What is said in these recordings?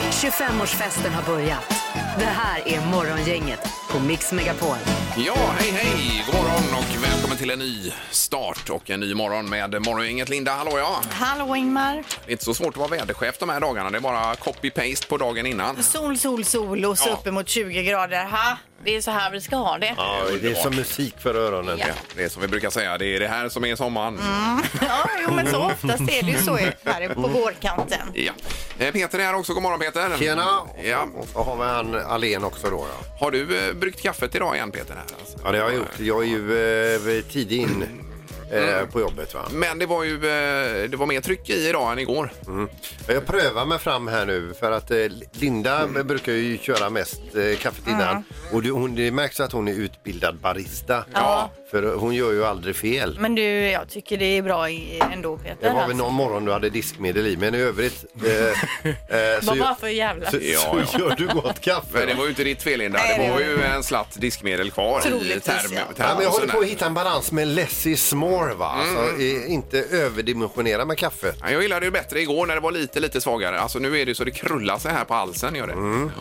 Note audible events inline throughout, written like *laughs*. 25-årsfesten har börjat. Det här är Morgongänget på Mix Megapol. Ja, hej, hej! God morgon och välkommen till en ny start och en ny morgon med Morgongänget. Linda, hallå ja! Hallå Ingmar. Det är inte så svårt att vara väderchef de här dagarna. Det är bara copy-paste på dagen innan. Sol, sol, sol och så Ja. uppemot 20 grader. Ha, det är så här vi ska ha det. Ja, det är som musik för öronen. Ja, Det är som vi brukar säga, det är det här som är sommaren. *laughs* Mm. Ja, jo, men så oftast är det ju så ju här på vårkanten. Ja. Eh, Peter är här också. God morgon Peter! Tjena! Ja. Och så har vi han Alén också då. Ja. Har du eh, bryggt kaffet idag igen Peter? Här, alltså? ja, det har jag gjort. Jag är ju eh, tidig in eh, på jobbet. va. Men det var ju eh, det var mer tryck i idag än igår. Mm. Jag prövar mig fram här nu för att eh, Linda brukar ju köra mest eh, kaffet innan. Och det, hon, det märks att hon är utbildad barista. Ja. Mm. För hon gör ju aldrig fel. Men du, jag tycker det är bra i- ändå Peter. Det var väl alltså. någon morgon du hade diskmedel i men i övrigt eh, eh, så, Vad var gör, för jävla... så, Ja, ja. så gör du gott kaffe. Men det var ju inte ditt fel Linda. Det Nej, var det ju en slatt diskmedel kvar i Troligtvis, term, ja. Ja, men jag håller termosen på att här. hitta en balans med less is more. Va? Mm. Alltså, eh, inte överdimensionera med kaffe. Ja, Jag gillade det bättre igår när det var lite, lite svagare. Alltså nu är det ju så det krullar sig här på halsen gör det.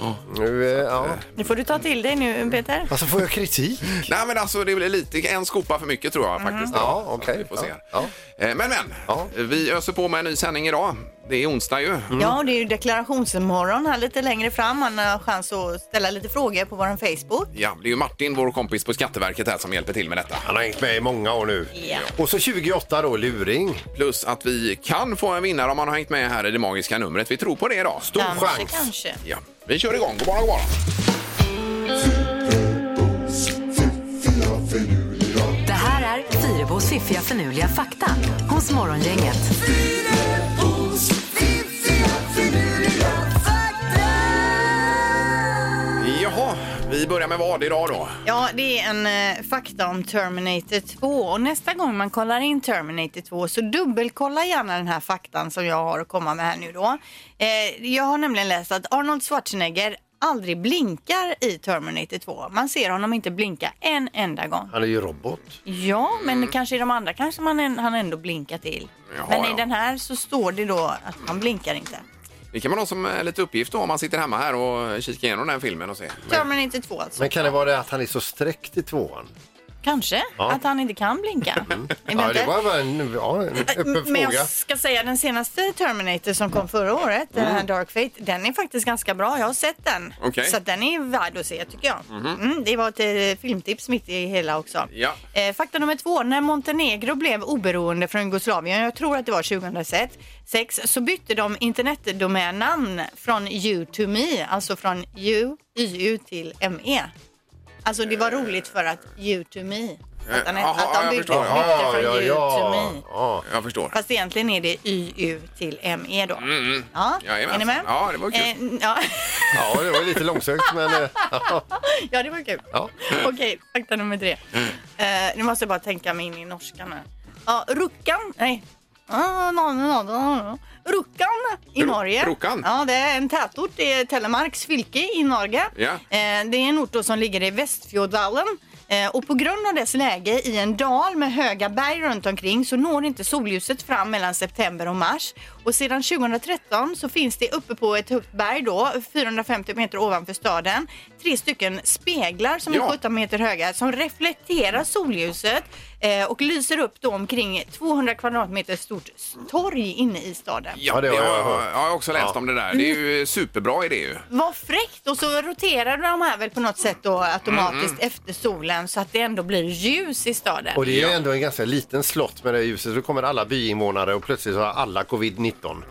Ja. Nu, eh, ja. Nu får du ta till dig nu Peter. Alltså får jag *laughs* kritik? Nej men alltså det blir lite, en skopa för mycket tror jag faktiskt. Mm. Ja, okej. Vi får se. Ja, Eh, Men men, Ja. Mm. vi öser på med en ny sändning idag. Det är onsdag ju. Ja, det är ju deklarationsmorgon här lite längre fram. Man har chans att ställa lite frågor på vår Facebook. Ja, det är ju Martin, vår kompis på Skatteverket här som hjälper till med detta. Han har hängt med i många år nu. Ja. Och så 28 då, luring. Plus att vi kan få en vinnare om man har hängt med här i det magiska numret. Vi tror på det idag. Stor Kanske, chans. kanske. Ja, vi kör igång. God morgon, god morgon. Det här är Fyrebos fiffiga förnuliga fakta hos Morgongänget. Jaha, vi börjar med vad idag då? Ja, det är en eh, fakta om Terminator 2 och nästa gång man kollar in Terminator 2 så dubbelkolla gärna den här faktan som jag har att komma med här nu då. Eh, jag har nämligen läst att Arnold Schwarzenegger aldrig blinkar i Terminator 2. Man ser honom inte blinka en enda gång. Han är ju robot. Ja, men Mm. kanske i de andra kanske man en, han ändå blinkar till. Jaha, men i ja. den här så står det då att han blinkar inte. Det kan man ha som eh, lite uppgift då om man sitter hemma här och kikar igenom den här filmen och ser. Terminator 2 alltså. Men kan det vara det att han är så sträckt i tvåan? Kanske Ja. Mm. att han inte kan blinka. Ja, det Eventuellt. var bara en, ja, en öppen Äh, Men fråga. jag ska säga den senaste Terminator som kom förra året, den Mm. här Dark Fate, den är faktiskt ganska bra. Jag har sett den. Okej. Så att den är värd att se tycker jag. Mhm. Mm, det var ett eh, filmtips mitt i hela också. Ja. Eh, fakta nummer två. När Montenegro blev oberoende från Jugoslavien, jag tror att det var 2006, så bytte de internetdomännamn från you to me, alltså från you, yu till me. Alltså det var roligt för att you to me. Att, den, Eh, aha, att de bytte, jag bytte förstår. från Eh. Ja, ja, you to ja. me. ja. Jag förstår. Fast egentligen är det YU till ME då. Ja, Mm, Jajamän. är ni med? Ja, det var kul. Eh, ja. *laughs* ja, det var lite långsökt men... eh, ja. ja, det var kul. Ja. *laughs* Okej, fakta nummer tre. Mm. Eh, nu måste jag bara tänka mig in i norskan här. Ja, Ruckan, nej. Ah, no, no, no, no. Ruckan i Ru- Norge. Rukkan? Ja, det är en tätort i Telemarks fylke i Norge. Ja. Eh, det är en ort då som ligger i Västfjordvallen. Eh, och på grund av dess läge i en dal med höga berg runt omkring så når inte solljuset fram mellan september och mars. Och sedan 2013 så finns det uppe på ett högt berg då, 450 meter ovanför staden, tre stycken speglar som Ja. är 17 meter höga som reflekterar solljuset eh, och lyser upp då omkring 200 kvadratmeter stort torg inne i staden. Ja, Ja, det har jag, hört. jag har också läst Ja. om det där. Det är ju superbra idé ju. Vad fräckt! Och så roterar de här väl på något sätt då automatiskt efter solen så att det ändå blir ljus i staden. Och det är ju ändå en ganska liten slott med det här huset. Så kommer alla byinvånare och plötsligt så har alla covid-19.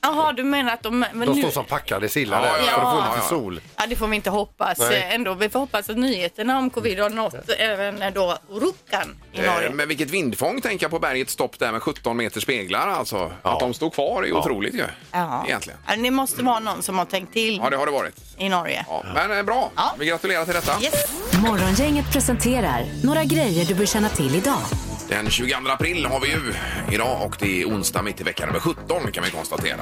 Jaha, du menar att de... Men De nu, står som packade sillar Ja, där ja, för att få ja, lite ja. sol. ja, det får vi inte hoppas Nej. eh, ändå. Vi får hoppas att nyheterna om covid har nått även eh, då Rukkan i Norge. Eh, Men vilket vindfång tänker jag på bergets topp där med 17 meter speglar alltså. Att de står kvar är ju otroligt ju. Ja. Egentligen. Ja, det måste vara någon som har tänkt till Ja, det har det varit. i Norge. Ja. Men eh, bra, Ja. vi gratulerar till detta. Yes. Morgongänget presenterar några grejer du bör känna till idag. Den 22 april har vi ju idag och det är onsdag mitt i vecka nummer 17 kan vi konstatera.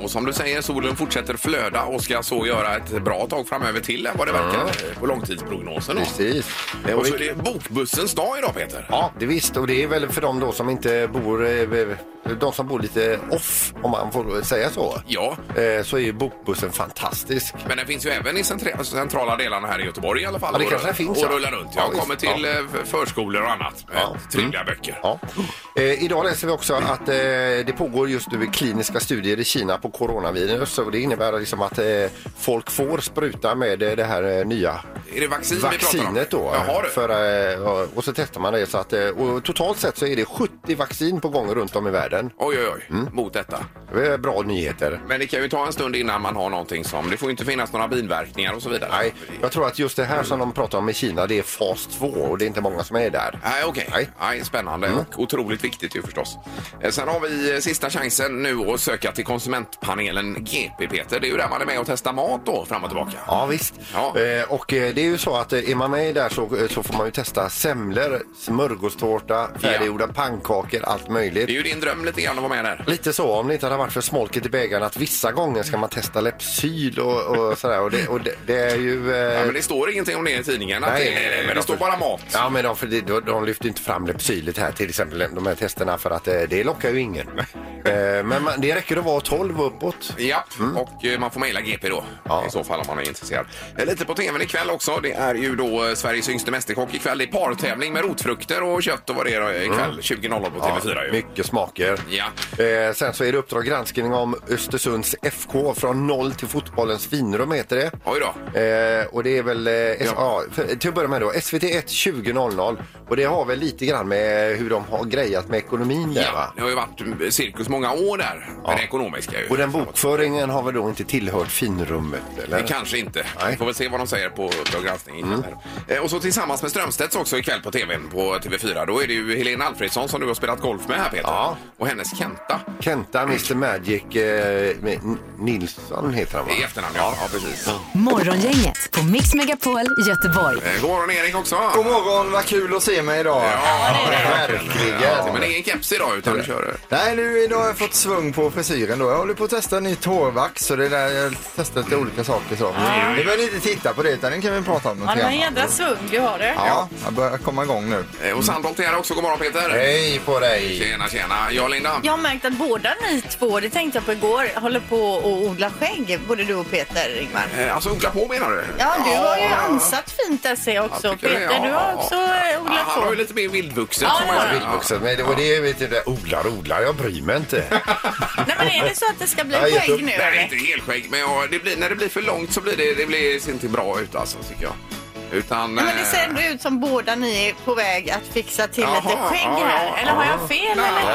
Och som du säger, solen fortsätter flöda och ska så göra ett bra tag framöver till vad det verkar eh, på långtidsprognosen. då. Precis. Eh, Och Och så vi, är det bokbussens dag idag Peter. ja, det visst. Och det är väl för de då som inte bor, eh, de som bor lite off, om man får säga så. Ja, Eh, Så är ju bokbussen fantastisk. men den finns ju även i centra- centrala delarna här i Göteborg i alla fall. Ja, det och kanske rull- den finns, Och ja. rullar runt. Jag Ja, kommer visst, till ja. eh, f- förskolor och annat. Ja. Ja. Mm. Trevliga böcker. Ja. Eh, idag läser vi också att eh, det pågår just nu kliniska studier i Kina på coronavirus och det innebär liksom att eh, folk får spruta med eh, det här eh, nya Är det vaccin vi pratar om? vaccinet då. Jaha, du. För, eh, och- och så testar man det. Så att, eh, och totalt sett så är det 70 vaccin på gång runt om i världen. Oj, oj, oj. Mm. Mot detta. Det är bra nyheter. Men det kan ju ta en stund innan man har någonting som... Det får ju inte finnas några biverkningar och så vidare. Nej, jag tror att just det här som de pratar om i Kina det är fas 2 och det är inte många som är där. Nej, okej. Nej. Mm. Nej, spännande och otroligt viktigt ju förstås. Eh, Sen har vi eh, sista chansen nu att söka till konsumentpanelen GP, Peter. Det är ju där man är med och testar mat då, fram och tillbaka. Ja visst. Ja. Eh, och eh, det är ju så att eh, är man med där så, så får man ju testa semlor, smörgåstårta, färdiggjorda pannkakor, allt möjligt. Det är ju din dröm lite grann att vara med där. Lite så, om det inte hade varit för smolket i bägaren att vissa gånger ska man testa Lepsyl och, och sådär. Och det, och det, det är ju... eh, Ja, men det står ingenting om det i tidningen. att Nej, det, nej, nej, men det de- står bara mat. Ja, men de, för de, de, de lyfter inte fram Lepsylet här till exempel, de här testerna, för att eh, det lockar ju ingen. eh, men man, det räcker att vara 12 och uppåt. Ja, och eh, man får mejla GP då Mm. Ja. i så fall om man är intresserad. Eh, Lite på tvn ikväll också. Det är ju då eh, Sveriges yngste mästerkock ikväll. Det är partävling med rotfrukter och kött och vad det är då eh, ikväll. 20.00 på TV4 ju. Mm. mycket smaker. Ja. Eh, sen så är det Uppdrag granskning om Östersunds FK från noll till fotbollens finrum heter det. Oj då. Eh, och det är väl eh, S- Ja. ja. för, till att börja med då, SVT 1 20.00 och det har väl lite grann med hur de har grejat med ekonomin där Ja, va? det har ju varit mm, cirkus många år där med det ekonomiska. Ju. Och den bokföringen har väl då inte tillhört finrummet eller? Det kanske inte. Nej. Mm. Vi får väl se vad de säger på Uppdrag granskning. ikväll här. Eh, Och så tillsammans med Strömstedts också ikväll på tvn på TV4. Då är det ju Helena Alfredsson som du har spelat golf med här Peter. Ja. Och hennes Kenta Kenta Mr Magic eh, med N- Nilsson heter han va? i efternamn. Ja, ja precis. Morgongänget på Mix Megapol Göteborg. Eh, God morgon Erik också. God morgon, vad kul att se mig idag. Ja, Verkligen. Ja, men det är ingen keps idag utan du kör... Nej, nu idag har jag fått svung på frisyren då. Jag håller på att testa en ny hårvax så det är där jag testar lite olika saker så. Ni behöver inte titta på det utan den kan vi prata om Ja, det någonting var en annat. jädra svung du har du. Ja, jag börjar komma igång nu. eh, Och Sandholt är här också. God morgon Peter. Hej på dig! Tjena, tjena. Ja, Linda. Jag har märkt att båda ni två, det tänkte jag på igår, håller på att odla skägg, både du och Peter Ingmar. Eh, Alltså odla på menar du? Ja, du har ju ja. ansat fint där ser jag också. Jag tycker det, Peter, ja, du har ja, också ja. eh, odlat Ja, Han har ju på. lite mer vildvuxen. Ja, får det man har säga. han. Vildvuxen, men det var det vet du, det- odlar odlar, jag bryr mig inte. Nej, men är det så att det ska bli Jag har gett skägg upp. nu Nej, det är eller? inte helskägg, men ja, det blir, när det blir för långt så blir det, det blir inte bra ut alltså, tycker jag. Utan... Nej, men det ser eh, ändå ut som båda ni är på väg att fixa till Jaha, lite skägg ja, här. ja, eller har ja. jag fel? nej, Eller?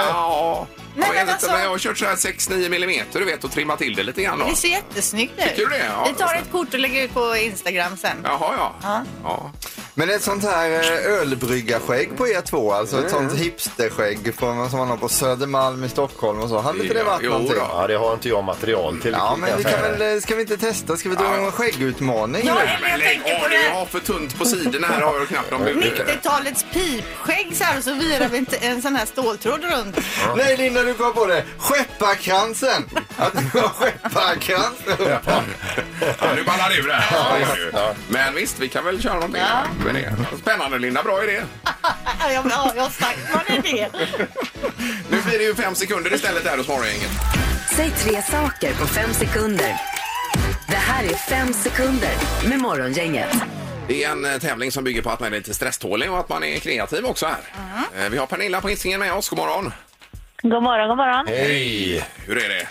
eh, ja, Nej, jag, men vet inte, alltså- men jag har kört så här 6-9 millimeter du vet och trimmat till det lite grann då. Det ser jättesnyggt ut. Tycker du det? Ja, Vi tar det- ett kort och lägger ut på Instagram sen. Jaha, ja. ja. *laughs* Men ett sånt här eh, ölbryggarskägg på er två, alltså ett sånt Mm. hipsterskägg på- som man har på Södermalm i Stockholm och så. Hade inte det Ja, varit jo någonting? då. Ja, det har inte jag material till. Ja, kan men vi jag kan säga. väl, eh, ska vi inte testa? Ska vi dra Ja. en skäggutmaning Ja, nu? eller jag Men lägg tänker på av det nu, jag här har för tunt på sidorna här har jag knappt någon bud. 90-talets pipskägg så här och så virar vi inte en sån här ståltråd runt. Nej Linda, du kom på det. Skepparkransen! Att du har skepparkrans Ja, nu ballar det ur det här. Ja, det gör det ju. Men visst, vi kan väl köra någonting. Ja. Med det. Spännande Linda, bra idé. Ja, jag, ja, jag har sagt vad är det? Nu blir det ju fem sekunder istället här hos Morgongänget. Säg tre saker på fem sekunder. Det här är fem sekunder med Morgongänget. Det är en eh, tävling som bygger på att man är lite stresstålig och att man är kreativ också här. Mm. Eh, Vi har Pernilla på Hisingen med oss. God morgon. God morgon, god morgon. Hej! Hur är det?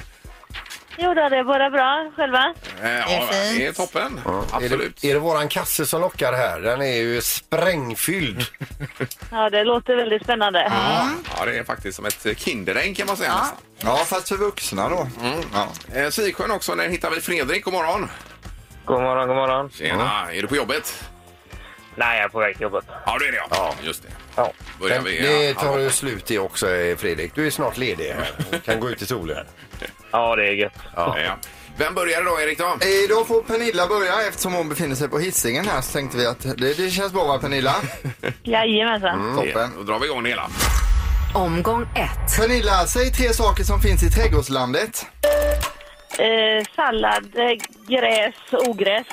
Jo då, det är bara bra. Själva? Eh, ja, fint. det är toppen. Är Absolut. det, är det våran kasse som lockar här? Den är ju sprängfylld. Mm. Ja, det låter väldigt spännande. Ja, det är faktiskt som ett eh, Kinderägg kan man säga. nästan. Ja, fast för vuxna då. Ja. Eh, Sisjön också, där hittar vi Fredrik. God morgon. God morgon, god morgon. Tjena, är du på jobbet? Nej, jag är på väg till jobbet. Ja, det är det ja. Just det. Ja. Börjar Den, vi, det ja, *laughs* tar ju slut i också eh, Fredrik. Du är snart ledig här och kan gå ut i solen. Ja, det är gött. Ja. Ja. Vem börjar idag Erik då? Idag Eh, får Pernilla börja eftersom hon befinner sig på Hisingen här så tänkte vi att det, det känns bra *laughs* va Pernilla? Jajamensan. Toppen. Då drar vi igång det hela. Omgång ett. Pernilla, säg tre saker som finns i trädgårdslandet. Eh, sallad, eh, gräs, ogräs.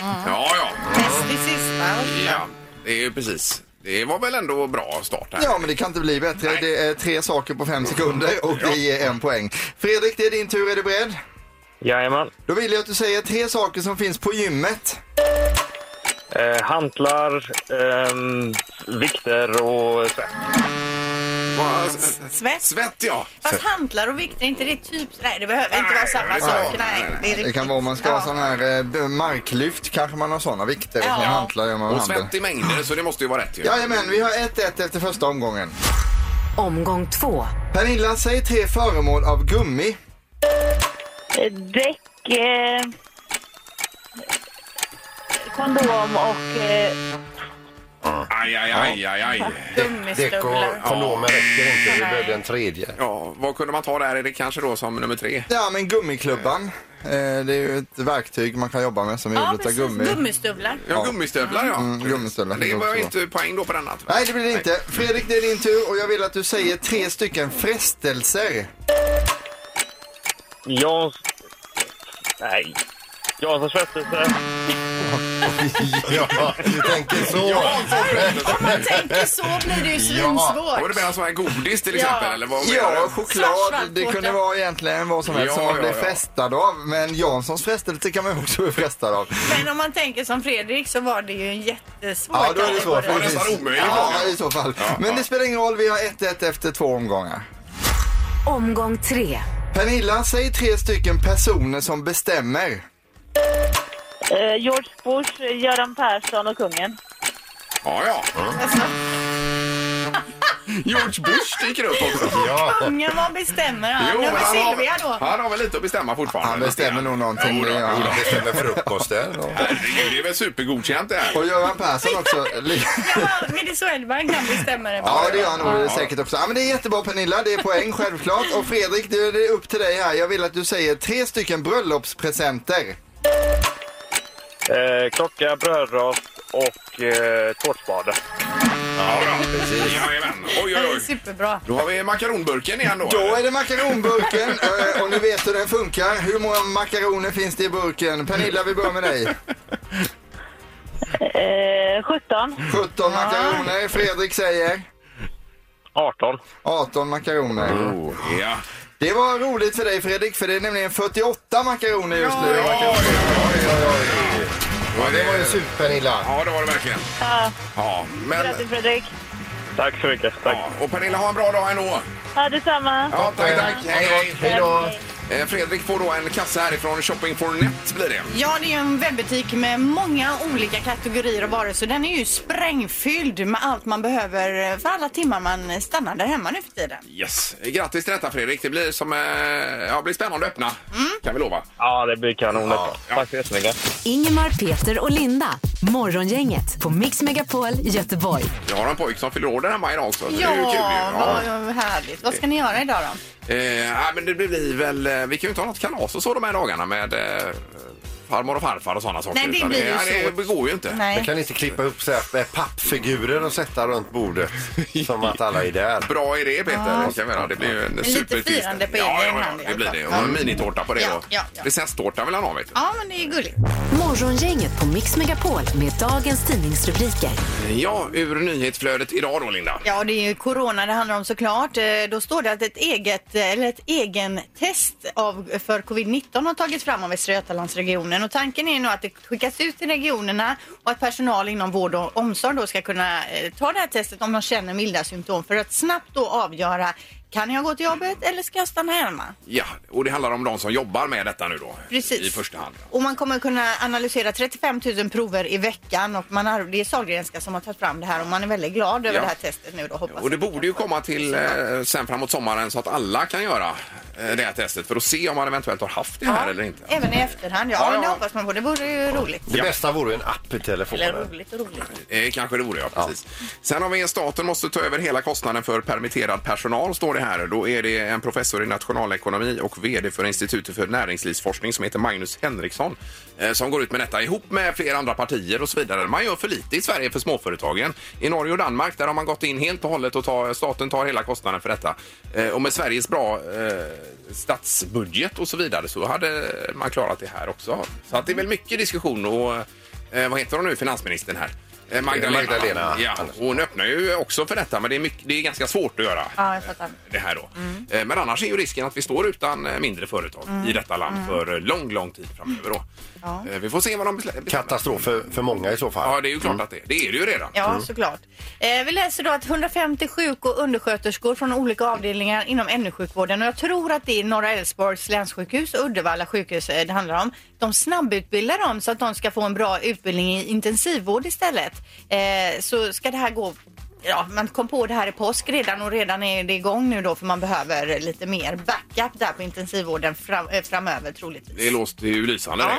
Ja, ja. Bäst i sista. ja. Det är ju precis. Det var väl ändå bra start här. Ja, men det kan inte bli bättre. Nej. Det är tre saker på fem sekunder och det ger en poäng. Fredrik, det är din tur. Är du beredd? Jajamän. Då vill jag att du säger tre saker som finns på gymmet. Eh, hantlar, ehm, vikter och svett. Va- s- Svett. Svett ja. Fast hantlar och vikter, är inte det typ... Nej, det behöver inte vara samma Nej, sak. nej, Nej, nej. det, är Det kan riktigt. vara om man ska ha Ja. sån här eh, b- marklyft kanske man har såna vikter. Ja. Ja. Hantlar gör man med Och handen. svett i mängder så det måste ju vara rätt ju. Jajamän, vi har 1-1 efter första omgången. Omgång två. Pernilla, säg tre föremål av gummi. Eh, däck, eh, kondom och... Eh, Aj, aj, aj, aj, aj. Däck Gummistövlar. och kondomer räcker inte. Vi behöver en tredje. Ja, vad kunde man ta där? Är det kanske då som nummer tre? Ja, men gummiklubban. Eh, Mm. Det är ju ett verktyg man kan jobba med som är Ja, gjort av precis. gummi. Gummistövlar. Ja, gummistövlar ja. Mm, gummistövlar. Det var Också. ju inte poäng då på denna. tyvärr. Nej, det blir det inte. Fredrik, det är din tur och jag vill att du säger tre stycken frestelser. Jans... Nej. Janssons frestelse. Ja, du tänker så. Om man tänker så blir det ju Var det svinsvårt. bara så här godis till exempel? Ja. Eller vad Ja, menar du? choklad. Det Svartvartårta. kunde vara egentligen vad som helst Ja, som man ja, blev ja. frestad av. Men Janssons frestelse kan man ju också bli frestad av. Men om man tänker som Fredrik så var det ju en jättesvår Ja, då är det kategori. svårt. var nästan precis. omöjligt. Ja, i så fall. Men det spelar ingen roll. Vi har 1-1 efter två omgångar. Omgång tre. Pernilla, säg tre stycken personer som bestämmer. eh, George Bush, eh, Göran Persson och kungen. Ja, ja. George Bush dyker upp också. Ja. Ungen, vad bestämmer han? Jo, Jo, men men han, Silvia har, då? han har väl lite att bestämma fortfarande. Han bestämmer nog någonting. det gör han. Det stämmer frukosten. och- Herregud, det är väl supergodkänt det här. Och Göran Persson också. Ja, men det är så Edvard kan bestämma det. Ja, det gör han nog säkert också. Ja, men det är jättebra Pernilla, det är *laughs* poäng självklart. Och Fredrik, det det är upp till dig här. Jag vill att du säger tre stycken bröllopspresenter. Eh, klocka, brödrost och eh, tårtspade. Ja, bra. Jajamän. Oj, oj, Det är oj. superbra. Då har vi makaronburken igen då. Då är *laughs* det makaronburken eh, och ni vet hur den funkar. Hur många makaroner finns det i burken? Pernilla, vi börjar med dig. Eh, 17. 17 makaroner, Fredrik säger. 18. 18 Mm. makaroner. Oh, Ja. Det var roligt för dig Fredrik, för det är nämligen 48 makaroner just nu. Ja, det var ju supernilla. Ja, det var det verkligen. Ja, Ja, men... grattis Fredrik. Tack så mycket. Tack. Ja, och Pernilla, ha en bra dag ändå. Ja, detsamma. Ja, tack, tack. Hej, hej. Eh, Hej då. Eh, Fredrik får då en kasse härifrån Shopping for Net blir det. Ja, det är ju en webbutik med många olika kategorier och varor så den är ju sprängfylld med allt man behöver för alla timmar man stannar där hemma nu för tiden. Yes. Grattis till detta Fredrik. Det blir som... Eh, ja, blir spännande att öppna. Mm. Kan vi lova. Ja, det blir kanon. Tack så jättemycket. Ingemar, Peter och Linda. Morgongänget på Mix Megapol Göteborg. Jag har en pojk som fyller år där hemma idag också. så det är ju kul ju. Ja, vad härligt. Vad ska ni göra idag då? Eh, nej, men det blir väl... eh, Vi kan ju inte ha något kalas och så de här dagarna med eh, farmor och farfar och sådana saker. Nej, det utan blir ju ja, det går ju inte. Nej. Jag kan inte klippa upp så här med pappfigurer och sätta runt bordet som att alla är där. Bra idé Peter. Jag kan mena, det blir ju en superfest. firande på ja, egen ja, hand i ja, det alla blir fall. det. Och en minitårta på det. Ja, och ja, ja. Prinsesstårta vill han ha vet du. Ja, men det är gulligt. Morgongänget på Mix Megapol med dagens tidningsrubriker. Ja, ur nyhetsflödet idag då Linda. Ja, det är ju corona det handlar om såklart. Eh, Då står det att ett eget, eh, eller ett egen test av, för covid-19 har tagits fram av Västra Götalandsregionen och tanken är nu att det skickas ut till regionerna och att personal inom vård och omsorg då ska kunna eh, ta det här testet om de känner milda symptom för att snabbt då avgöra kan jag gå till jobbet eller ska jag stanna hemma? Ja, och det handlar om de som jobbar med detta nu då. Precis. I första hand. Och man kommer kunna analysera 35 000 prover i veckan och man har, det är Sahlgrenska som har tagit fram det här och man är väldigt glad över Ja. det här testet nu då hoppas Och det jag. borde ju komma till eh, sen framåt sommaren så att alla kan göra eh, det här testet för att se om man eventuellt har haft det här eller inte. Även i efterhand. Ja, Ja, men det ja. hoppas man på. Det vore ju roligt. Det bästa vore en app i telefonen. Eller roligt och roligt. Eh, kanske det vore, ja. Precis. Sen har vi en staten måste ta över hela kostnaden för permitterad personal, står det här. Då är det en professor i nationalekonomi och vd för Institutet för näringslivsforskning som heter Magnus Henriksson eh, som går ut med detta ihop med flera andra partier och så vidare. Man gör för lite i Sverige för småföretagen. I Norge och Danmark där har man gått in helt och hållet och tar, staten tar hela kostnaden för detta. Eh, och med Sveriges bra eh, statsbudget och så vidare så hade man klarat det här också. Så att det är väl mycket diskussion och eh, vad heter hon nu, finansministern här? Eh, Magdalena. Magdalena. Ja, hon öppnar ju också för detta, men det är, mycket, det är ganska svårt att göra Ja, jag fattar. Mm. det här då. Eh, Men annars är ju risken att vi står utan eh, mindre företag i detta land Mm. för lång, lång tid framöver då. Eh, Vi får se vad de beslä- bestämmer. Katastrof för, för många i så fall. Ja, det är ju klart att det är. Det är det ju redan. Ja, såklart. Eh, vi läser då att 150 sjuk och undersköterskor från olika avdelningar inom NU-sjukvården och jag tror att det är Norra Älvsborgs länssjukhus och Uddevalla sjukhus eh, det handlar om. De snabbutbildar dem så att de ska få en bra utbildning i intensivvård istället. Eh, så ska det här gå Ja, man kom på det här i påsk redan och redan är det igång nu då för man behöver lite mer backup där på intensivvården fram, eh, framöver troligtvis. Det låter ju lysande. Ja.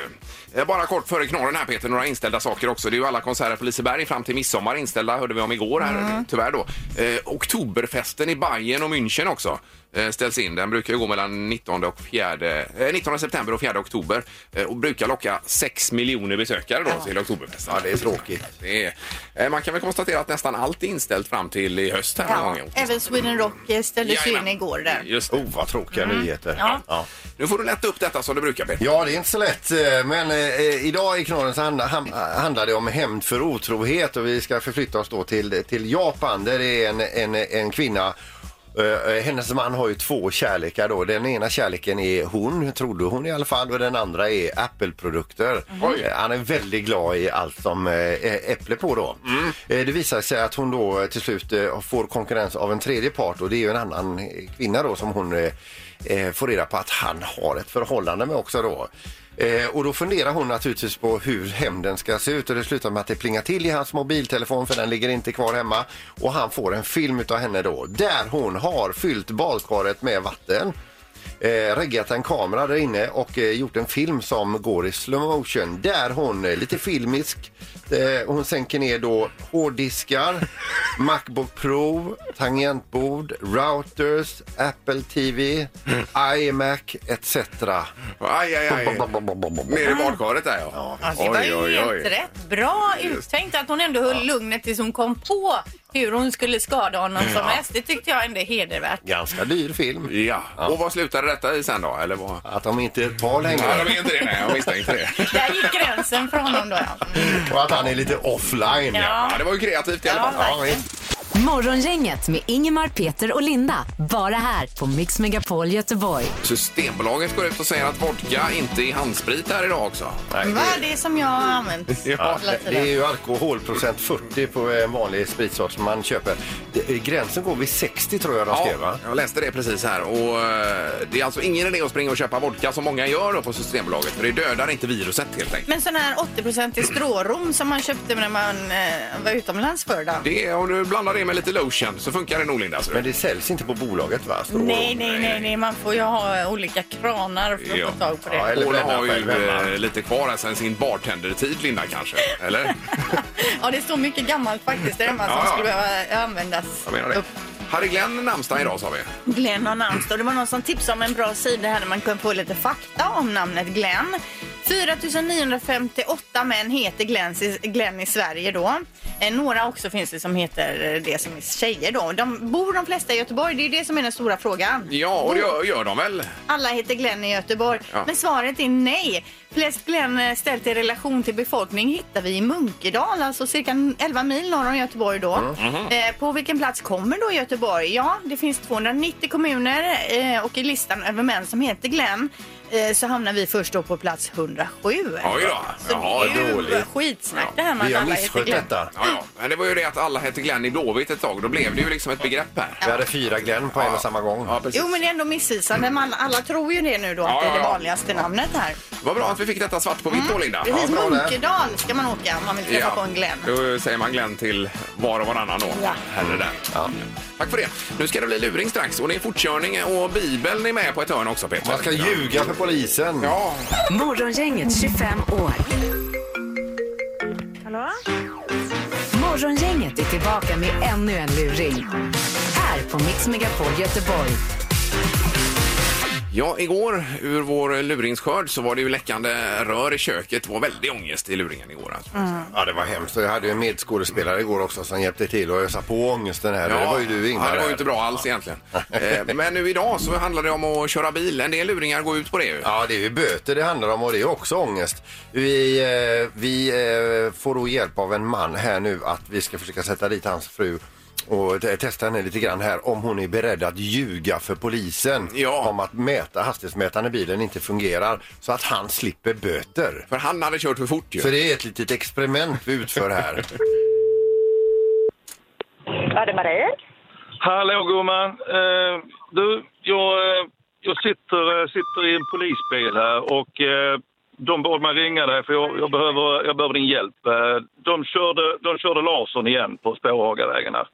det är ju. Eh, Bara kort före knorren här Peter, några inställda saker också. Det är ju alla konserter på Liseberg fram till midsommar inställda, hörde vi om igår här, Mm. tyvärr då. Eh, oktoberfesten i Bayern och München också eh, ställs in. Den brukar ju gå mellan 19, och 4, eh, 19 september och 4 oktober eh, och brukar locka 6 miljoner besökare då till oktoberfesten. Ja, det är tråkigt. Det är, eh, man kan väl konstatera att nästan allt är inställt fram till i höst här någon Ja, gång. åtminstone. även Sweden Rock eh, ställdes in Jajamän. igår där. Just det. Oh, vad tråkiga Mm. nyheter. Ja. Ja. Nu får du lätta upp detta som du brukar Peter. Ja, det är inte så lätt. eh, Men eh, idag i Knorren så handla, ham, handlar det om hämnd för otrohet och vi ska förflytta oss då till, till Japan där det är en, en, en kvinna eh, hennes man har ju två kärlekar då. Den ena kärleken är hon, trodde hon i alla fall, och den andra är Apple-produkter. Eh, Han är väldigt glad i allt som eh, är äpple på då. Eh, Det visar sig att hon då eh, till slut eh, får konkurrens av en tredje part och det är ju en annan eh, kvinna då som hon eh, eh, får reda på att han har ett förhållande med också då. Eh, och då funderar hon naturligtvis på hur hämnden ska se ut och det slutar med att det plingar till i hans mobiltelefon för den ligger inte kvar hemma. Och han får en film utav henne då där hon har fyllt badkaret med vatten. Eh, reggat en kamera där inne och eh, gjort en film som går i slow motion där hon eh, lite filmisk eh, hon sänker ner då *laughs* hårddiskar, Macbook Pro, tangentbord, routers, Apple TV, iMac etc. Aj, aj, Mm. aj. Nere i badkaret där ja. Ja, Ah. det var ju helt rätt. Bra uttänkt att hon ändå höll lugnet tills hon kom på hur hon skulle skada honom som mest. Det tyckte jag ändå är hedervärt. Ganska dyr film. Ja. och vad slutade detta i sen då? Eller vad? Att de inte är ett par Nej, längre. de är inte det. Nej, jag misstänkte *laughs* det. Där gick gränsen för honom då. Ja. Mm. Och att han är lite offline. Ja. Ja, det var ju kreativt i alla fall. Ja, visst. Morgongänget med Ingemar, Peter och Linda. Bara här på Mix Megapol Göteborg. Systembolaget går ut och säger att vodka inte är handsprit här idag också. Vad är det som jag har använt Ja, hela Det är tiden? ju alkoholprocent 40 på en vanlig spritsort man köper. Det- eh, Gränsen går vid 60 tror jag de skrev va? jag läste det precis här. Och eh, det är alltså ingen idé att springa och köpa vodka som många gör då på Systembolaget. För det dödar inte viruset helt enkelt. Men sån här 80-procentig strårom som man köpte när man eh, var utomlands förr då? Det, om du blandar det med lite lotion så funkar det nog Linda. ser du. Men det säljs inte på bolaget va? Står det. Nej, nej, nej, nej. Man får ju ha eh, olika kranar för att Ja. få tag på Ja, det. eller Ola bränna har ju själv hemma. eh, lite kvar här sen sin bartendertid Linda kanske. Eller? *laughs* Ja, det står mycket gammalt faktiskt där hemma Ja, som ja. skulle behöva användas. Jag menar det. upp. Harry Glenn namnsdag idag sa vi. Glenn har namnsdag och det var någon som tipsade om en bra sida här där man kunde få lite fakta om namnet Glenn. 4958 män heter Glenn i, Glenn i Sverige då. Eh, några också finns det som heter eh, det som är tjejer då. De, bor de flesta i Göteborg? Det är ju det som är den stora frågan. Ja, och det gör, gör de väl? Alla heter Glenn i Göteborg. Ja. Men svaret är nej. Flest Glenn eh, ställt i relation till befolkning hittar vi i Munkedal, alltså cirka 11 mil norr om Göteborg då. Mm, mhm. Eh, på vilken plats kommer då Göteborg? Ja, det finns 290 kommuner eh, och i listan över män som heter Glenn eh, så hamnar vi först då på plats 107. Oj då. Jaha, det är ju dåligt. skitsnack det här med Vi att har alla heter misskött Glenn. detta. Ja, ja. Men det var ju det att alla hette Glenn i Blåvitt ett tag. Då blev det ju liksom ett begrepp här. Vi hade fyra Glenn på en och samma gång. Ja, precis. Jo, men det är ändå missvisande. Man, alla tror ju det nu då, Ja, att det ja, är det ja. vanligaste namnet här. Vad bra att vi fick detta svart på vitt då, Linda. Mm. Precis, bra det. Munkedal ska man åka om man vill träffa på en Glenn. Då säger man Glenn till var och varannan då. Ja. Här är den. Tack för det. Nu ska det bli luring strax och det är fortkörning och Bibeln är med på ett hörn också Peter. Man ska ljuga för polisen. Ja, Morgongänget 25 år. Hallå? Morgongänget är tillbaka med ännu en luring. Här på Mix Megapol Göteborg. Ja, igår ur vår luringsskörd så var det ju läckande rör i köket. Det var väldigt ångest i luringen igår. Alltså. Ja, det var hemskt. Jag hade ju en medskådespelare igår också som hjälpte till och ösa på ångesten här. det var ju du Ingmar. ja, det var där. ju inte bra alls egentligen. Eh, Men nu idag så handlar det om att köra bil. En del luringar går ut på det ju. Ja, det är ju böter det handlar om och det är också ångest. Vi, eh, vi eh, får då hjälp av en man här nu att vi ska försöka sätta dit hans fru och te- testa henne lite grann här om hon är beredd att ljuga för polisen Ja. om att mäta, hastighetsmätaren i bilen inte fungerar så att han slipper böter. För han hade kört för fort ju. Så det är ett litet experiment vi utför här. Ja, det är Marie. Hallå gumman! Eh, du, jag, eh, jag sitter, eh, sitter i en polisbil här och eh, de bad mig ringa dig för jag, jag, behöver, jag behöver din hjälp. Eh, de, körde, de körde Larsson igen på Spårhagavägen här.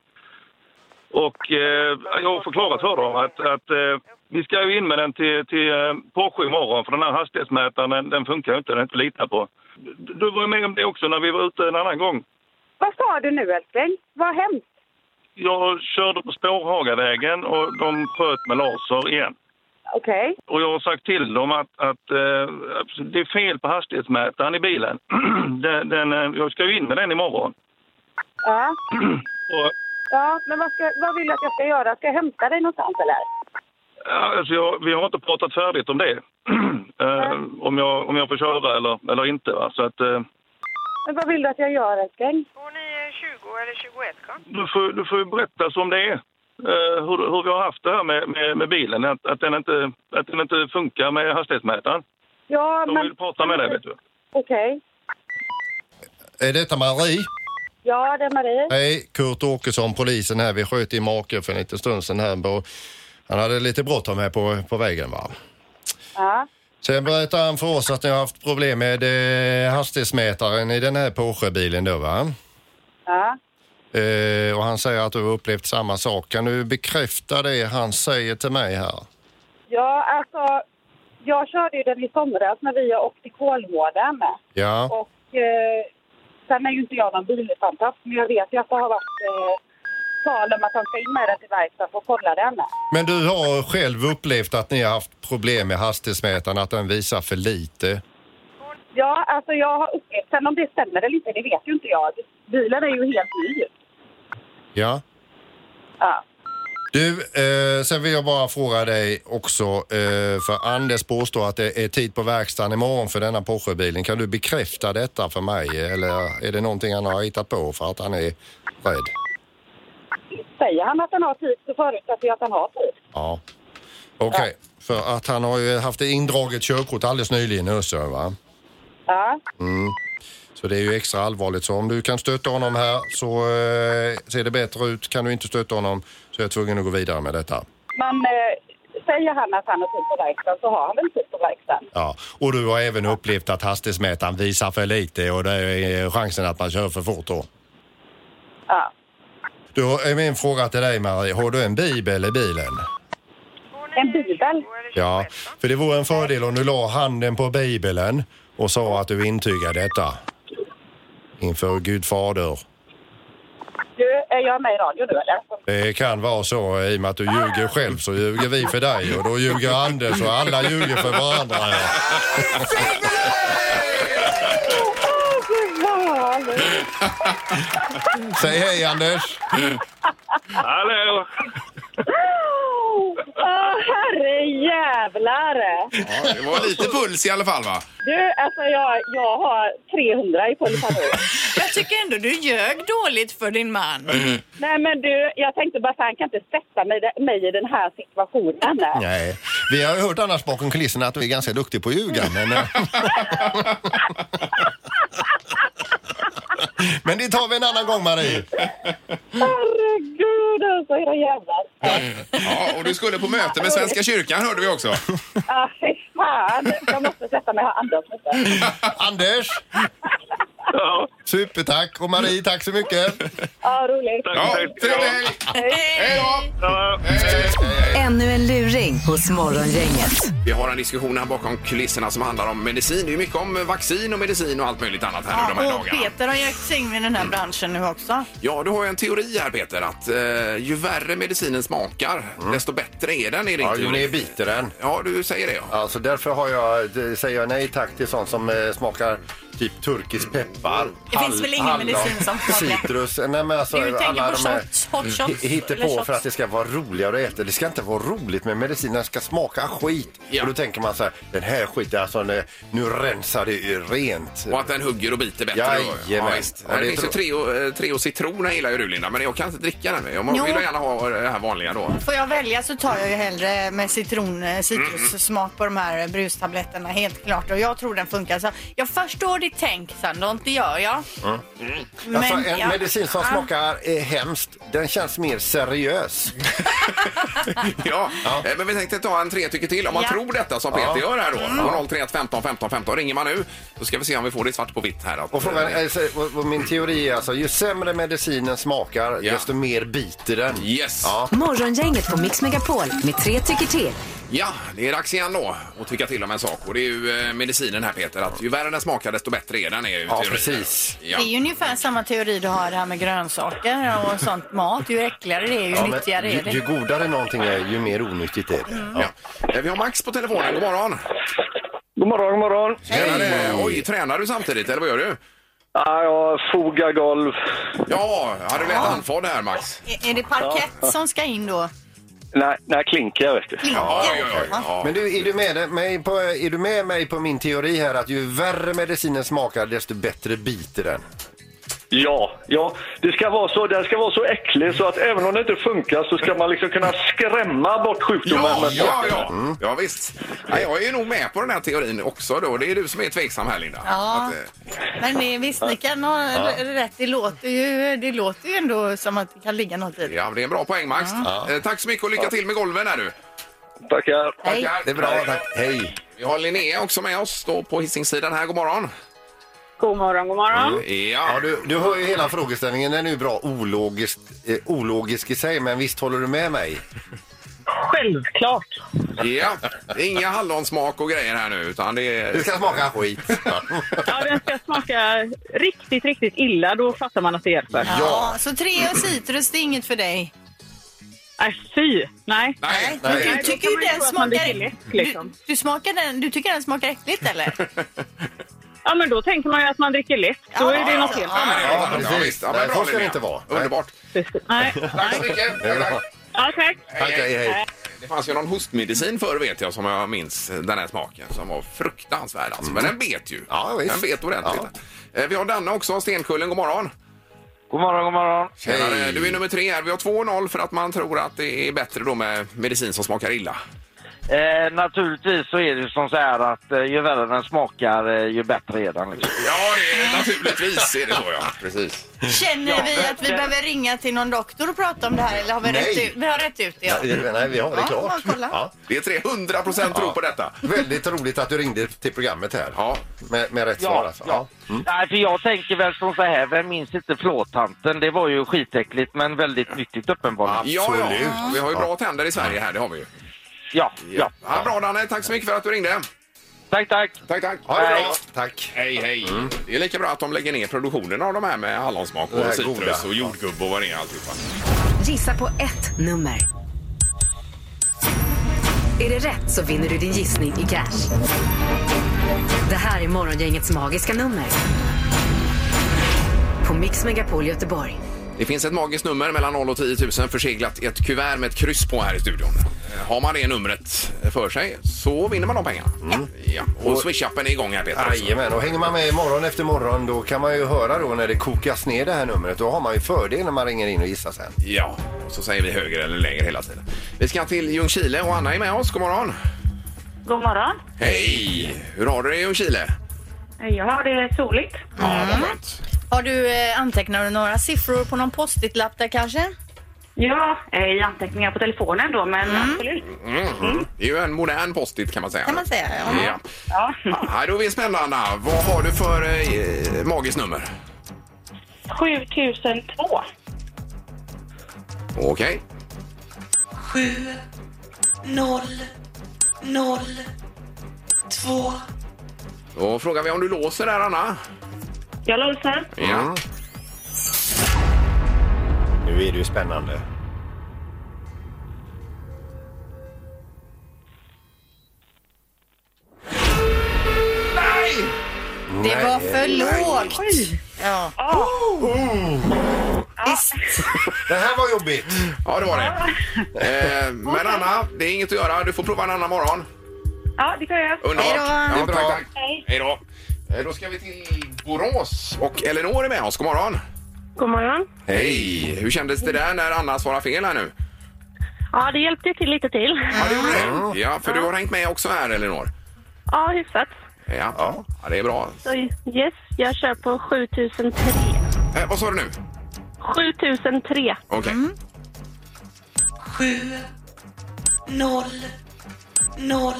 Och eh, jag har förklarat för dem att, att eh, vi ska ju in med den till, till eh, Porsche imorgon för den här hastighetsmätaren den, den funkar ju inte, den är inte att lita på. Du- Du var ju med om det också när vi var ute en annan gång. Vad sa du nu älskling? Vad hemskt. Jag körde på Spårhagavägen och de sköt med laser igen. Okej. Och jag har sagt till dem att, att eh, det är fel på hastighetsmätaren i bilen. *clears throat* den, den, eh, jag ska ju in med den imorgon. Ja. Och, ja, men vad, ska, vad vill du att jag ska göra? Ska jag hämta dig någonstans eller? ja, alltså jag, vi har inte pratat färdigt om det. *clears throat* eh, om, jag, om jag får köra eller, eller inte. Va? Så att, eh, Men vad vill du att jag gör älskling? Hon är 20 eller 21 kom. du, får, du får ju berätta som det är. Eh, hur, hur vi har haft det här med, med, med bilen. Att, att, den inte, att den inte funkar med hastighetsmätaren. Ja, De men... vill prata med dig vet du. Okej. *laughs* Är detta Marie? Ja, det är Marie. Hej, Kurt Åkesson, polisen här. Vi sköt i make för en liten stund sedan här. på- Han hade lite bråttom här på, på vägen va? Ja. Sen berättade han för oss att ni har haft problem med eh, hastighetsmätaren i den här Porsche-bilen då va? Ja. Eh, och han säger att du har upplevt samma sak. Kan du bekräfta det han säger till mig här? Ja, alltså. Jag körde ju den i somras när vi åkte till Kolmården. Ja, Och eh, sen är ju inte jag någon bilfantast, men jag vet ju att det har varit eh, tal om att han ska in med den till verkstaden för att kolla den. men du har själv upplevt att ni har haft problem med hastighetsmätaren, att den visar för lite. Ja, alltså jag har upplevt, sen om det stämmer eller inte, det vet ju inte jag. Bilen är ju helt ny. Ja. Ja. Du, eh, sen vill jag bara fråga dig också, eh, för Anders påstår att det är tid på verkstaden imorgon för denna Porschebilen. Kan du bekräfta detta för mig eller är det någonting han har hittat på för att han är rädd? Säger han att han har tid så förutsätter jag att han har tid. Ja. Okej, för att han har ju haft ett indraget körkort alldeles nyligen i Össö, va? Ja, Så det är ju extra allvarligt. Så om du kan stötta honom här så eh, ser det bättre ut. Kan du inte stötta honom så är jag tvungen att gå vidare med detta. men eh, säger han att han har tid på verkstaden så har han väl tid på verkstaden. Ja, och du har även upplevt att hastighetsmätaren visar för lite och det är eh, chansen att man kör för fort då. Ja. Då är min fråga till dig Marie, har du en bibel i bilen? Hon En är bibel? 20 eller 21 Ja, kom. för det vore en fördel om du la handen på bibeln och sa att du intygar detta. Inför Gud fader. Du, är jag med i radio nu eller? Det kan vara så i och med att du ljuger själv så ljuger vi för dig och då ljuger Anders och alla ljuger för varandra. Ja. Åh, gud vad härligt. Säg hej Anders! Hallå! Åh, herre jävlar! Ja, det var lite puls i alla fall va? Du, alltså jag, jag har 300 i puls här nu. Jag tycker ändå du ljög dåligt för din man. Nej men du, jag tänkte bara fan kan inte sätta mig, mig i den här situationen. Nej, vi har ju hört annars bakom kulisserna att du är ganska duktig på att *laughs* ljuga. Men, eh, men det tar vi en annan gång Marie. Herregud alltså, era jävlar. Ja, och du skulle på möte med Svenska kyrkan hörde vi också. Ah, fy fan, jag måste sätta mig här och andas lite. Anders! Supertack och Marie, tack så mycket. Ja, roligt. Ja, trevlig helg! Hej då! Hej, hej, hej. Ännu en luring hos Morgongänget. Vi har en diskussion här bakom kulisserna som handlar om medicin. Det är ju mycket om vaccin och medicin och allt möjligt annat här nu de här Ja, och dagarna. Peter har gett sig in i den här branschen nu också. Ja, du har ju en teori här Peter att eh, ju värre medicinen smakar desto bättre är den. Är det Mm. Ja, inte? ju mer biter den. Ja, du säger det. Ja. Alltså därför har jag, d- säger jag nej tack till sånt som eh, smakar typ turkisk peppar. Det finns väl ingen medicin som smakar- Citrus. Nej, men alltså, Du tänker alla på de här shots, hot shots, hi- hittar eller på shots. för att det ska vara roligare att äta. Det ska inte vara roligt med medicin. Den ska smaka skit. Ja. Och då tänker man så här, den här skiten, alltså, nu nu rensar det ju rent. Och att den hugger och biter bättre. Jajamän. Ja, visst. Ja, det det finns ju tror- Treo, eh, Treo citron jag gillar ju du Linda, men jag kan inte dricka den. Jag Jo. vill gärna ha eh, det här vanliga då. Får jag välja så tar jag ju hellre med citron, eh, citrussmak på de här eh, brustabletterna helt klart. Och jag tror den funkar. Så jag förstår ditt tänk Sandra, det gör jag. Mm. Alltså, Men en jag- medicin som Ja. smakar eh, hemskt, den känns mer seriös. Ja, eh, men vi tänkte ta en tre tycker till. Om man Ja. tror detta som Peter Ja. gör här då. Mm. 031 15 15 15 ringer man nu. Då ska vi se om vi får det svart på vitt här. Att, Och frågan, eh, alltså, vad- vad min teori är alltså, ju sämre medicinen smakar, Ja. desto mer biter den. Yes. Ja. Morgongänget på Mix Megapol med tre tycker till. Ja, det är dags igen då att tycka till om en sak. Och det är ju eh, medicinen här Peter, att ju värre den smakar desto bättre är den. Är ju Ja, teorin. precis. Ja. Det är ju ungefär samma teori du har här med grönsaker och sånt mat. Ju äckligare det är, ju Ja, men nyttigare är ju, det. Mm. ju godare någonting är, ju mer onyttigt är det. Ja. Eh, Vi har Max på telefonen, god morgon! God morgon, god morgon. Tjenare. Oj, tränar du samtidigt eller vad gör du? Ja, jag fogar golv. Ja, har du lärt handfad här Max? Är- Är det parkett som ska in då? Nej, nej klinkar vet du. Ja, ja, ja, ja. Men du, är du, med mig på, är du med mig på min teori här att ju värre medicinen smakar desto bättre biter den? Ja, ja. Det ska vara så, den ska vara så äcklig så att även om det inte funkar så ska man liksom kunna skrämma bort sjukdomen. Ja, med ja, smaken. ja. ja visst. Ja, jag är nog med på den här teorin också då. Det är du som är tveksam här Linda. Ja. Att, eh, Men det, visst, ni kan ha r- rätt. Det låter, ju, det låter ju ändå som att det kan ligga något i det. ja, det är en bra poäng Max. Eh, Tack så mycket och lycka till med golven här du. Tackar. Hej. Tackar. Det är bra, tack. Hej! Vi har Linnea också med oss då på Hisingssidan här. God morgon. God morgon, god Mm. morgon. Ja, Ja, du, du hör ju hela frågeställningen, den är ju bra ologisk, eh, ologisk i sig, men visst håller du med mig? Självklart. ja. Det är Inga hallonsmak och grejer här nu utan det Det är... ska smaka skit. Ja, den ska smaka riktigt, riktigt illa. Då fattar man att det hjälper. Ja. så tre och citrus, det är inget för dig. Nej, Äh, fy. Nej. Nej, Men nej. Du tycker ju Då kan man ju den tro att man blir smakar... lätt, Du, liksom. du, smakar den, du tycker den smakar äckligt eller? *laughs* Ja, men då tänker man ju att man dricker lätt. Då är det något helt Ja, annat. det är Ja, bra. precis. visst. men Nej, bra, så ska det Linnea. inte vara. Nej. Underbart. Nej. Tack så mycket. Det är bra. Ja, tack. Tack, hej, hej. Det fanns ju någon hostmedicin förr vet jag som jag minns den här smaken som var fruktansvärd alltså. Men den bet ju. Ja, visst. Den bet ordentligt. Eh, Vi har Danne också, Stenkullen. God morgon. God morgon, god morgon. Tjenare, Du är nummer tre här. Vi har 2-0 för att man tror att det är bättre då med medicin som smakar illa. Eh, naturligtvis så är det ju som så här att eh, ju värre den smakar eh, ju bättre är den. Liksom. Ja, det är, naturligtvis är det så ja. Precis. Känner vi att vi behöver ringa till någon doktor och prata om det här eller har vi, Nej. rätt, ut, vi har rätt ut det? Ja. Nej, nej, vi har det Ja, klart. bara kolla. Ja. Det är 300 procent tro på detta. Väldigt roligt att du ringde till programmet här. Ja. Med, med rätt svar alltså. Ja. Nej, för jag tänker väl som så här, vem minns inte flåtanten? Det var ju skitäckligt men väldigt nyttigt uppenbarligen. Ja, Absolut. ja. Vi har ju bra tänder i Sverige här, det har vi ju. Ja, ja. Ja, bra Danne, tack så mycket för att du ringde. Tack, tack. Tack, tack. Ha det Hej. bra. Tack. Hej, hej. Mm. Det är lika bra att de lägger ner produktionen av de här med hallonsmak Det här och citrus goda. och jordgubb och vad det är alltihopa. Gissa på ett nummer. Är det rätt så vinner du din gissning i cash. Det här är Morgongängets magiska nummer. På Mix Megapol Göteborg. Det finns ett magiskt nummer mellan 0 och 10 000 förseglat i ett kuvert med ett kryss på här i studion. Eh, Har man det numret för sig så vinner man de pengarna. Ja. Och swish-appen är igång här Peter. Mm. Jajamän, och hänger man med morgon efter morgon då kan man ju höra då när det kokas ner det här numret. Då har man ju fördel när man ringer in och gissar sen. Ja, och så säger vi högre eller lägre hela tiden. Vi ska till Ljungskile och Anna är med oss. God morgon! God morgon. Hej! Hur har du det i Ljungskile? Mm. Jag har det soligt. Har du eh, antecknat några siffror på någon post-it-lapp där kanske? Ja, eh, i anteckningar på telefonen då, men absolut. Mm. Det är ju en modern post-it kan man säga. Kan man säga, ja. Ja. Ja, då är vi spända Anna. Vad har du för eh, magiskt nummer? 7002. Okej. 7, 0, 0, 2. Då frågar vi om du låser där Anna. Jag låser. Ja. Nu är det ju spännande. Nej! Det var för lågt. Ja. Visst. Det här var jobbigt. Ja, det var det. Eh, men Anna, det är inget att göra. Du får prova en annan morgon. Ja, det kan jag. Underbart. Hej Ja, då. tack, tack. Hej. Hej då. Eh, Då ska vi till Borås och Elinor är med oss. God morgon. God morgon. Hej! Hur kändes det där när Anna svarade fel här nu? Ja, det hjälpte ju till lite till. Ja, det gjorde det. Ja, för du har hängt med också här, Elinor. Ja, hyfsat. Ja, ja. det är bra. Så yes, jag kör på 7003. Eh, vad sa du nu? 7003. Okej. 7, 0, 0,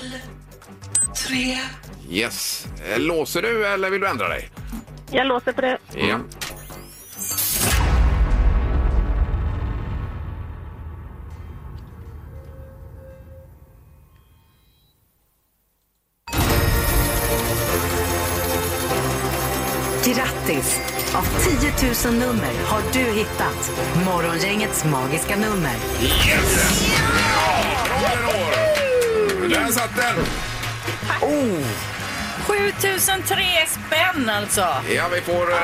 3. Yes. Eh, Låser du eller vill du ändra dig? Jag låser på det. Ja. Grattis! Av 10 000 nummer har du hittat Morgongängets magiska nummer. Yes! Ja, bra Elinor! Där satt den! Oh. 7003 spänn alltså. Ja, vi får... eh,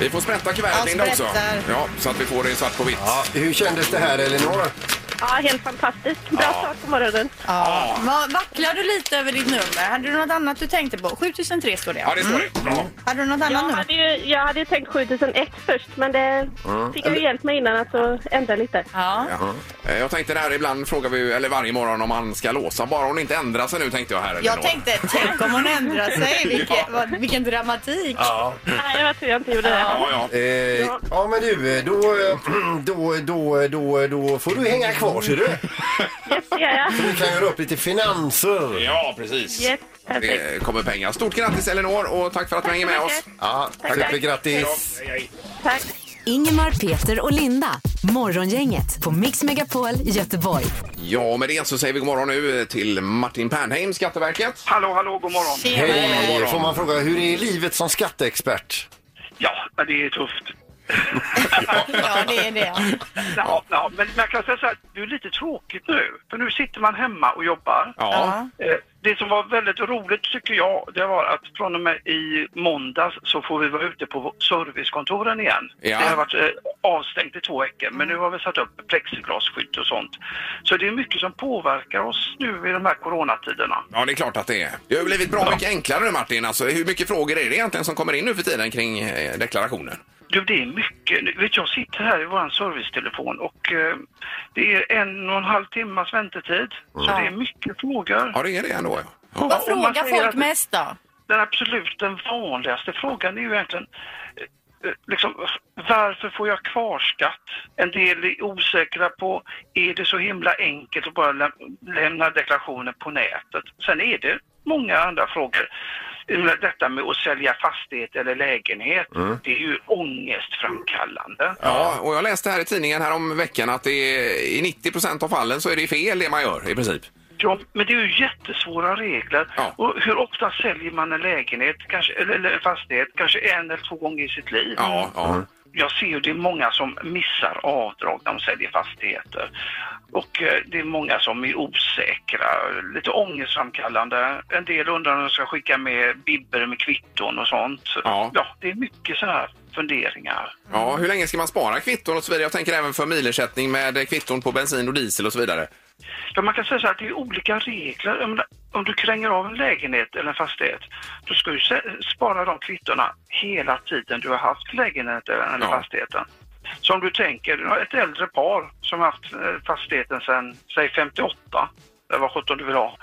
Vi får sprätta Ja, kuvertet Linda också. sprättar. Ja, så att vi får det svart på vitt. Hur kändes det här Elinor? Ja, helt fantastiskt. Bra start på morgonen. Ja. Va- Vacklar du lite över ditt nummer? Hade du något annat du tänkte på? 7003 står det. Ja, det står det. Bra. Hade du något annat Jag nummer? hade, ju, jag hade ju tänkt 7001 först, men det Mm. fick jag ju hjälp med innan att så ändra *laughs* lite. Ja. Eh, Jag tänkte där ibland frågar vi ju- eller varje morgon om han ska låsa. Bara hon inte ändrar sig nu tänkte jag här. Elinor. Jag tänkte, tänk om hon ändrar sig. Vilken, Ja. vad, vilken dramatik. Ja. Nej, det var tur jag inte gjorde det. Ja, ja. Eh, ja men du, då, eh, *clears throat* då, då, då, då får du hänga kvar ser du. Det gör jag. För vi kan göra upp lite finanser. Ja, precis. Yes, perfekt. Det Eh, kommer pengar. Stort grattis Elinor och tack för att du hänger med oss. Ja, Tack, tack. supergrattis. Hej då. Hej, hej. Tack. Ingemar, Peter och Linda. Morgongänget på Mix Megapol Göteborg. Ja, med det så säger vi god morgon nu till Martin Pernheim, Skatteverket. Hallå, hallå, god morgon. Hej! Får man fråga, hur är livet som skatteexpert? Ja, men det är tufft. ja, det är det. Ja, ja, men man kan säga så här, det är lite tråkigt nu, för nu sitter man hemma och jobbar. Ja. Eh, Det som var väldigt roligt tycker jag, det var att från och med i måndags så får vi vara ute på servicekontoren igen. Ja. Mm. Det har varit eh, avstängt i två veckor, men nu har vi satt upp plexiglasskydd och sånt. Så det är mycket som påverkar oss nu i de här coronatiderna. Ja, det är klart att det är. Det har blivit bra mycket enklare nu Martin. Alltså, hur mycket frågor är det egentligen som kommer in nu för tiden kring eh, deklarationen? Du, det är mycket. Nu, Vet, du, jag sitter här i vår servicetelefon och eh, det är en och en halv timmas väntetid. Så Ja. det är mycket frågor. Mm. Ja, det är det ändå. Ja. Ja, Vad och man frågar säger folk att mest då? Den absolut den vanligaste frågan är ju egentligen eh, eh, Liksom, varför får jag kvarskatt? En del är osäkra på, är det så himla enkelt att bara läm- lämna deklarationen på nätet? Sen är det många andra frågor. Jag menar, Detta med att sälja fastighet eller lägenhet, Mm. det är ju ångestframkallande. Ja, och jag läste här i tidningen här om veckan att det är, i 90 procent av fallen så är det fel det man gör i princip. Ja, men det är ju jättesvåra regler. Och hur ofta Mm. säljer man en lägenhet kanske, eller, eller en fastighet? Kanske en eller två gånger i sitt liv. Ja, ja. jag ser ju det är många som missar avdrag när de säljer fastigheter. Och eh, det är många som är osäkra, lite ångestframkallande. En del undrar om de ska skicka med bibber med kvitton och sånt. Ja. det är mycket sådana här funderingar. Ja, hur länge ska man spara kvitton och så vidare? Jag tänker även för milersättning med eh, kvitton på bensin och diesel och så vidare. Ja, man kan säga så här att det är olika regler. Om, om du kränger av en lägenhet eller en fastighet, då ska du sä- spara de kvittona hela tiden du har haft lägenheten eller fastigheten. Så om du tänker, du har ett äldre par som har haft eh, fastigheten sedan, säg 58, eller vad sjutton du vill ha.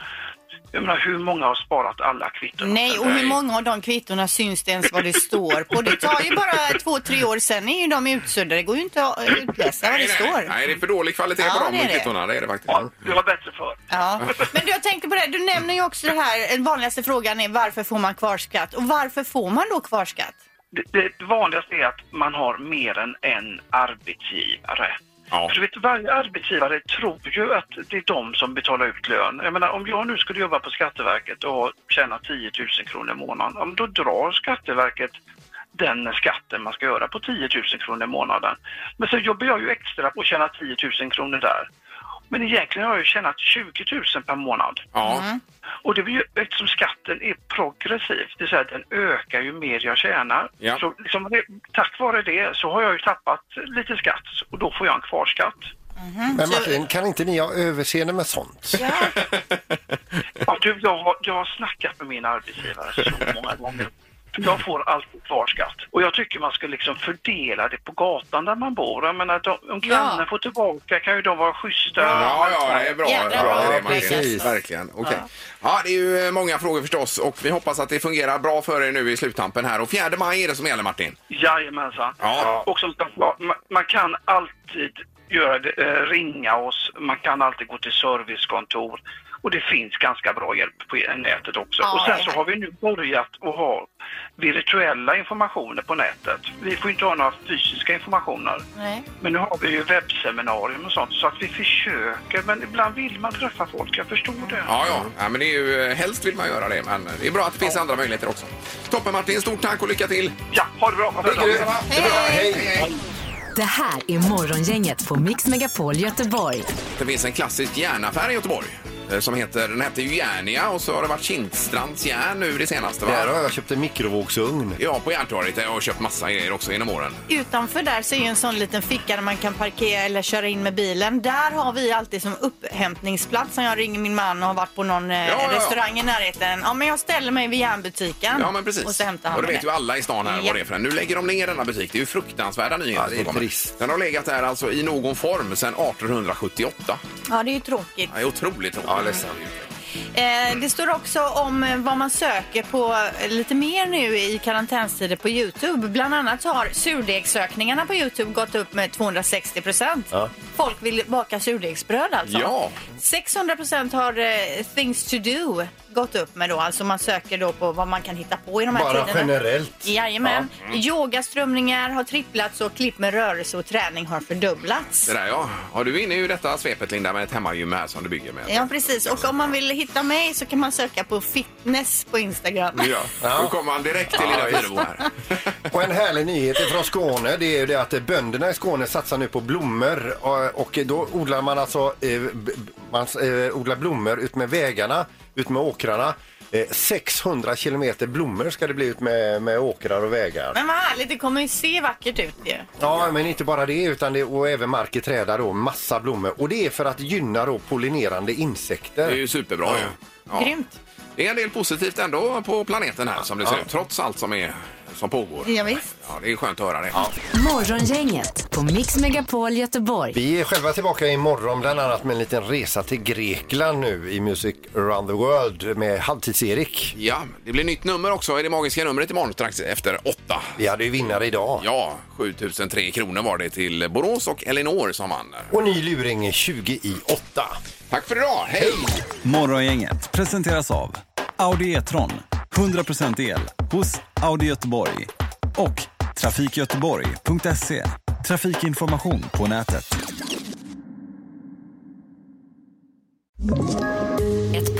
Jag menar, hur många har sparat alla kvitton? Nej, och hur många av de kvittona syns det ens vad det står på? Det tar ju bara två, tre år, sen är ju de utsuddade. Det går ju inte att utläsa vad det står. Nej, det är för dålig kvalitet Ja, på de det är det. kvittona. Det är det faktiskt. Det var bättre förr. Ja. Men du, jag tänkte på det, här. du nämner ju också det här, den vanligaste frågan är varför får man kvarskatt? Och varför får man då kvarskatt? Det, det vanligaste är att man har mer än en arbetsgivare. För du vet, varje arbetsgivare tror ju att det är de som betalar ut lön. Jag menar, om jag nu skulle jobba på Skatteverket och tjäna 10 000 kronor i månaden, ja, men då drar Skatteverket den skatten man ska göra på 10 000 kronor i månaden. Men sen jobbar jag ju extra och tjänar 10 000 kronor där. Men egentligen har jag ju tjänat 20 000 per månad. Mm. Och det blir ju, eftersom skatten är progressiv, det vill säga att den ökar ju mer jag tjänar. Ja. Så liksom, det- tack vare det så har jag ju tappat lite skatt och då får jag en *laughs* kvarskatt. Men Martin, kan inte ni ha överseende med sånt? Ja, du, jag, har, jag har snackat med min arbetsgivare så många gånger. Jag får alltid kvarskatt. Och jag tycker man ska liksom fördela det på gatan där man bor. Jag menar, de, om grannen får tillbaka kan ju de vara schyssta. Ja, ja, det är bra. Jädra bra. bra det är man upplägg, precis. alltså. Verkligen. Okej. Ja. det är ju eh, många frågor förstås och vi hoppas att det fungerar bra för er nu i sluttampen här. Och 4 maj är det som gäller Martin. Jajamensan. Ja. Och som sagt var, ma- man kan alltid göra det, eh, ringa oss, man kan alltid gå till servicekontor och det finns ganska bra hjälp på nätet också. Ja, och sen det så är- har vi nu börjat att ha virtuella informationer på nätet. Vi får inte ha några fysiska informationer. Nej. Men nu har vi ju webbseminarium och sånt så att vi försöker men ibland vill man träffa folk, jag förstår det. Ja, ja. ja men det är ju, eh, helst vill man göra det, men det är bra att det finns andra möjligheter också. Toppen Martin, stort tack och lycka till! Ja, ha det bra! Ha det bra. Hej, hej. Det här är Morgongänget på Mix Megapol Göteborg. Det finns en klassisk järnaffär i Göteborg eh, som heter, den hette ju Järnia och så har det varit Kindstrands järn nu det senaste va? Där har jag köpt en mikrovågsugn. Ja, på Järntorget. där Jag har köpt massa grejer också genom åren. Utanför där så är ju en sån liten ficka där man kan parkera eller köra in med bilen. Där har vi alltid som upphämtningsplats som jag ringer min man och har varit på någon eh, ja, ja. restaurang i närheten. Ja, men jag ställer mig vid järnbutiken Ja, men precis. och så hämtar han och det mig vet där. ju alla i stan här Ja. vad det är för en. Nu lägger de ner denna butik. Det är ju fruktansvärda nyheter det är som kommer. Den har legat där alltså i någon form sedan 1878. Ja, det är ju tråkigt. Det är otroligt tråkigt. Ja, ledsen. Eh, det står också om eh, vad man söker på eh, lite mer nu i karantänstider på Youtube. Bland annat så har surdegssökningarna på Youtube gått upp med 260 procent. Ja. Folk vill baka surdegsbröd alltså. Ja. 600 procent har eh, things to do gått upp med då. Alltså man söker då på vad man kan hitta på i de här Bara tiderna. generellt. Jajamän. Ja. Mm. Yogaströmningar har tripplats och klipp med rörelse och träning har fördubblats. Det där ja. ja. Du är inne i detta svepet Linda med ett hemmagym här som du bygger med. Ja, precis. Och om man vill hitta mig så kan man söka på fitness på Instagram. Ja. Då kommer han direkt till Lilla Fyrebo här. Och en härlig nyhet från Skåne det är ju det att bönderna i Skåne satsar nu på blommor och- och då odlar man alltså eh, b- man eh, odlar blommor ut med vägarna, ut med åkrarna. Eh, 600 kilometer blommor ska det bli ut med, med åkrar och vägar. Men vad härligt, det kommer ju se vackert ut ju. Ja, men inte bara det utan det och även mark i träda då, massa blommor. Och det är för att gynna då pollinerande Det insekter. är ju superbra ju. Ja. Grymt. Det är en del positivt ändå på planeten här som det ser ut trots allt som, är, som pågår. Ja, visst. Ja, det är skönt att höra det. Morgongänget på Mix Megapol Göteborg. Vi är själva tillbaka imorgon bland annat med en liten resa till Grekland nu i Music around the world med Halvtids-Erik. Ja, det blir nytt nummer också i det magiska numret imorgon strax efter åtta. Vi hade ju vinnare idag. Ja, 7003 kronor var det till Borås och Elinor som vann. Och ny luring 20 i 8. Tack för idag, hej! Morgongänget presenteras av Audi E-tron. 100% el hos Audi Göteborg. Och trafikgöteborg.se. Trafikinformation på nätet. Ett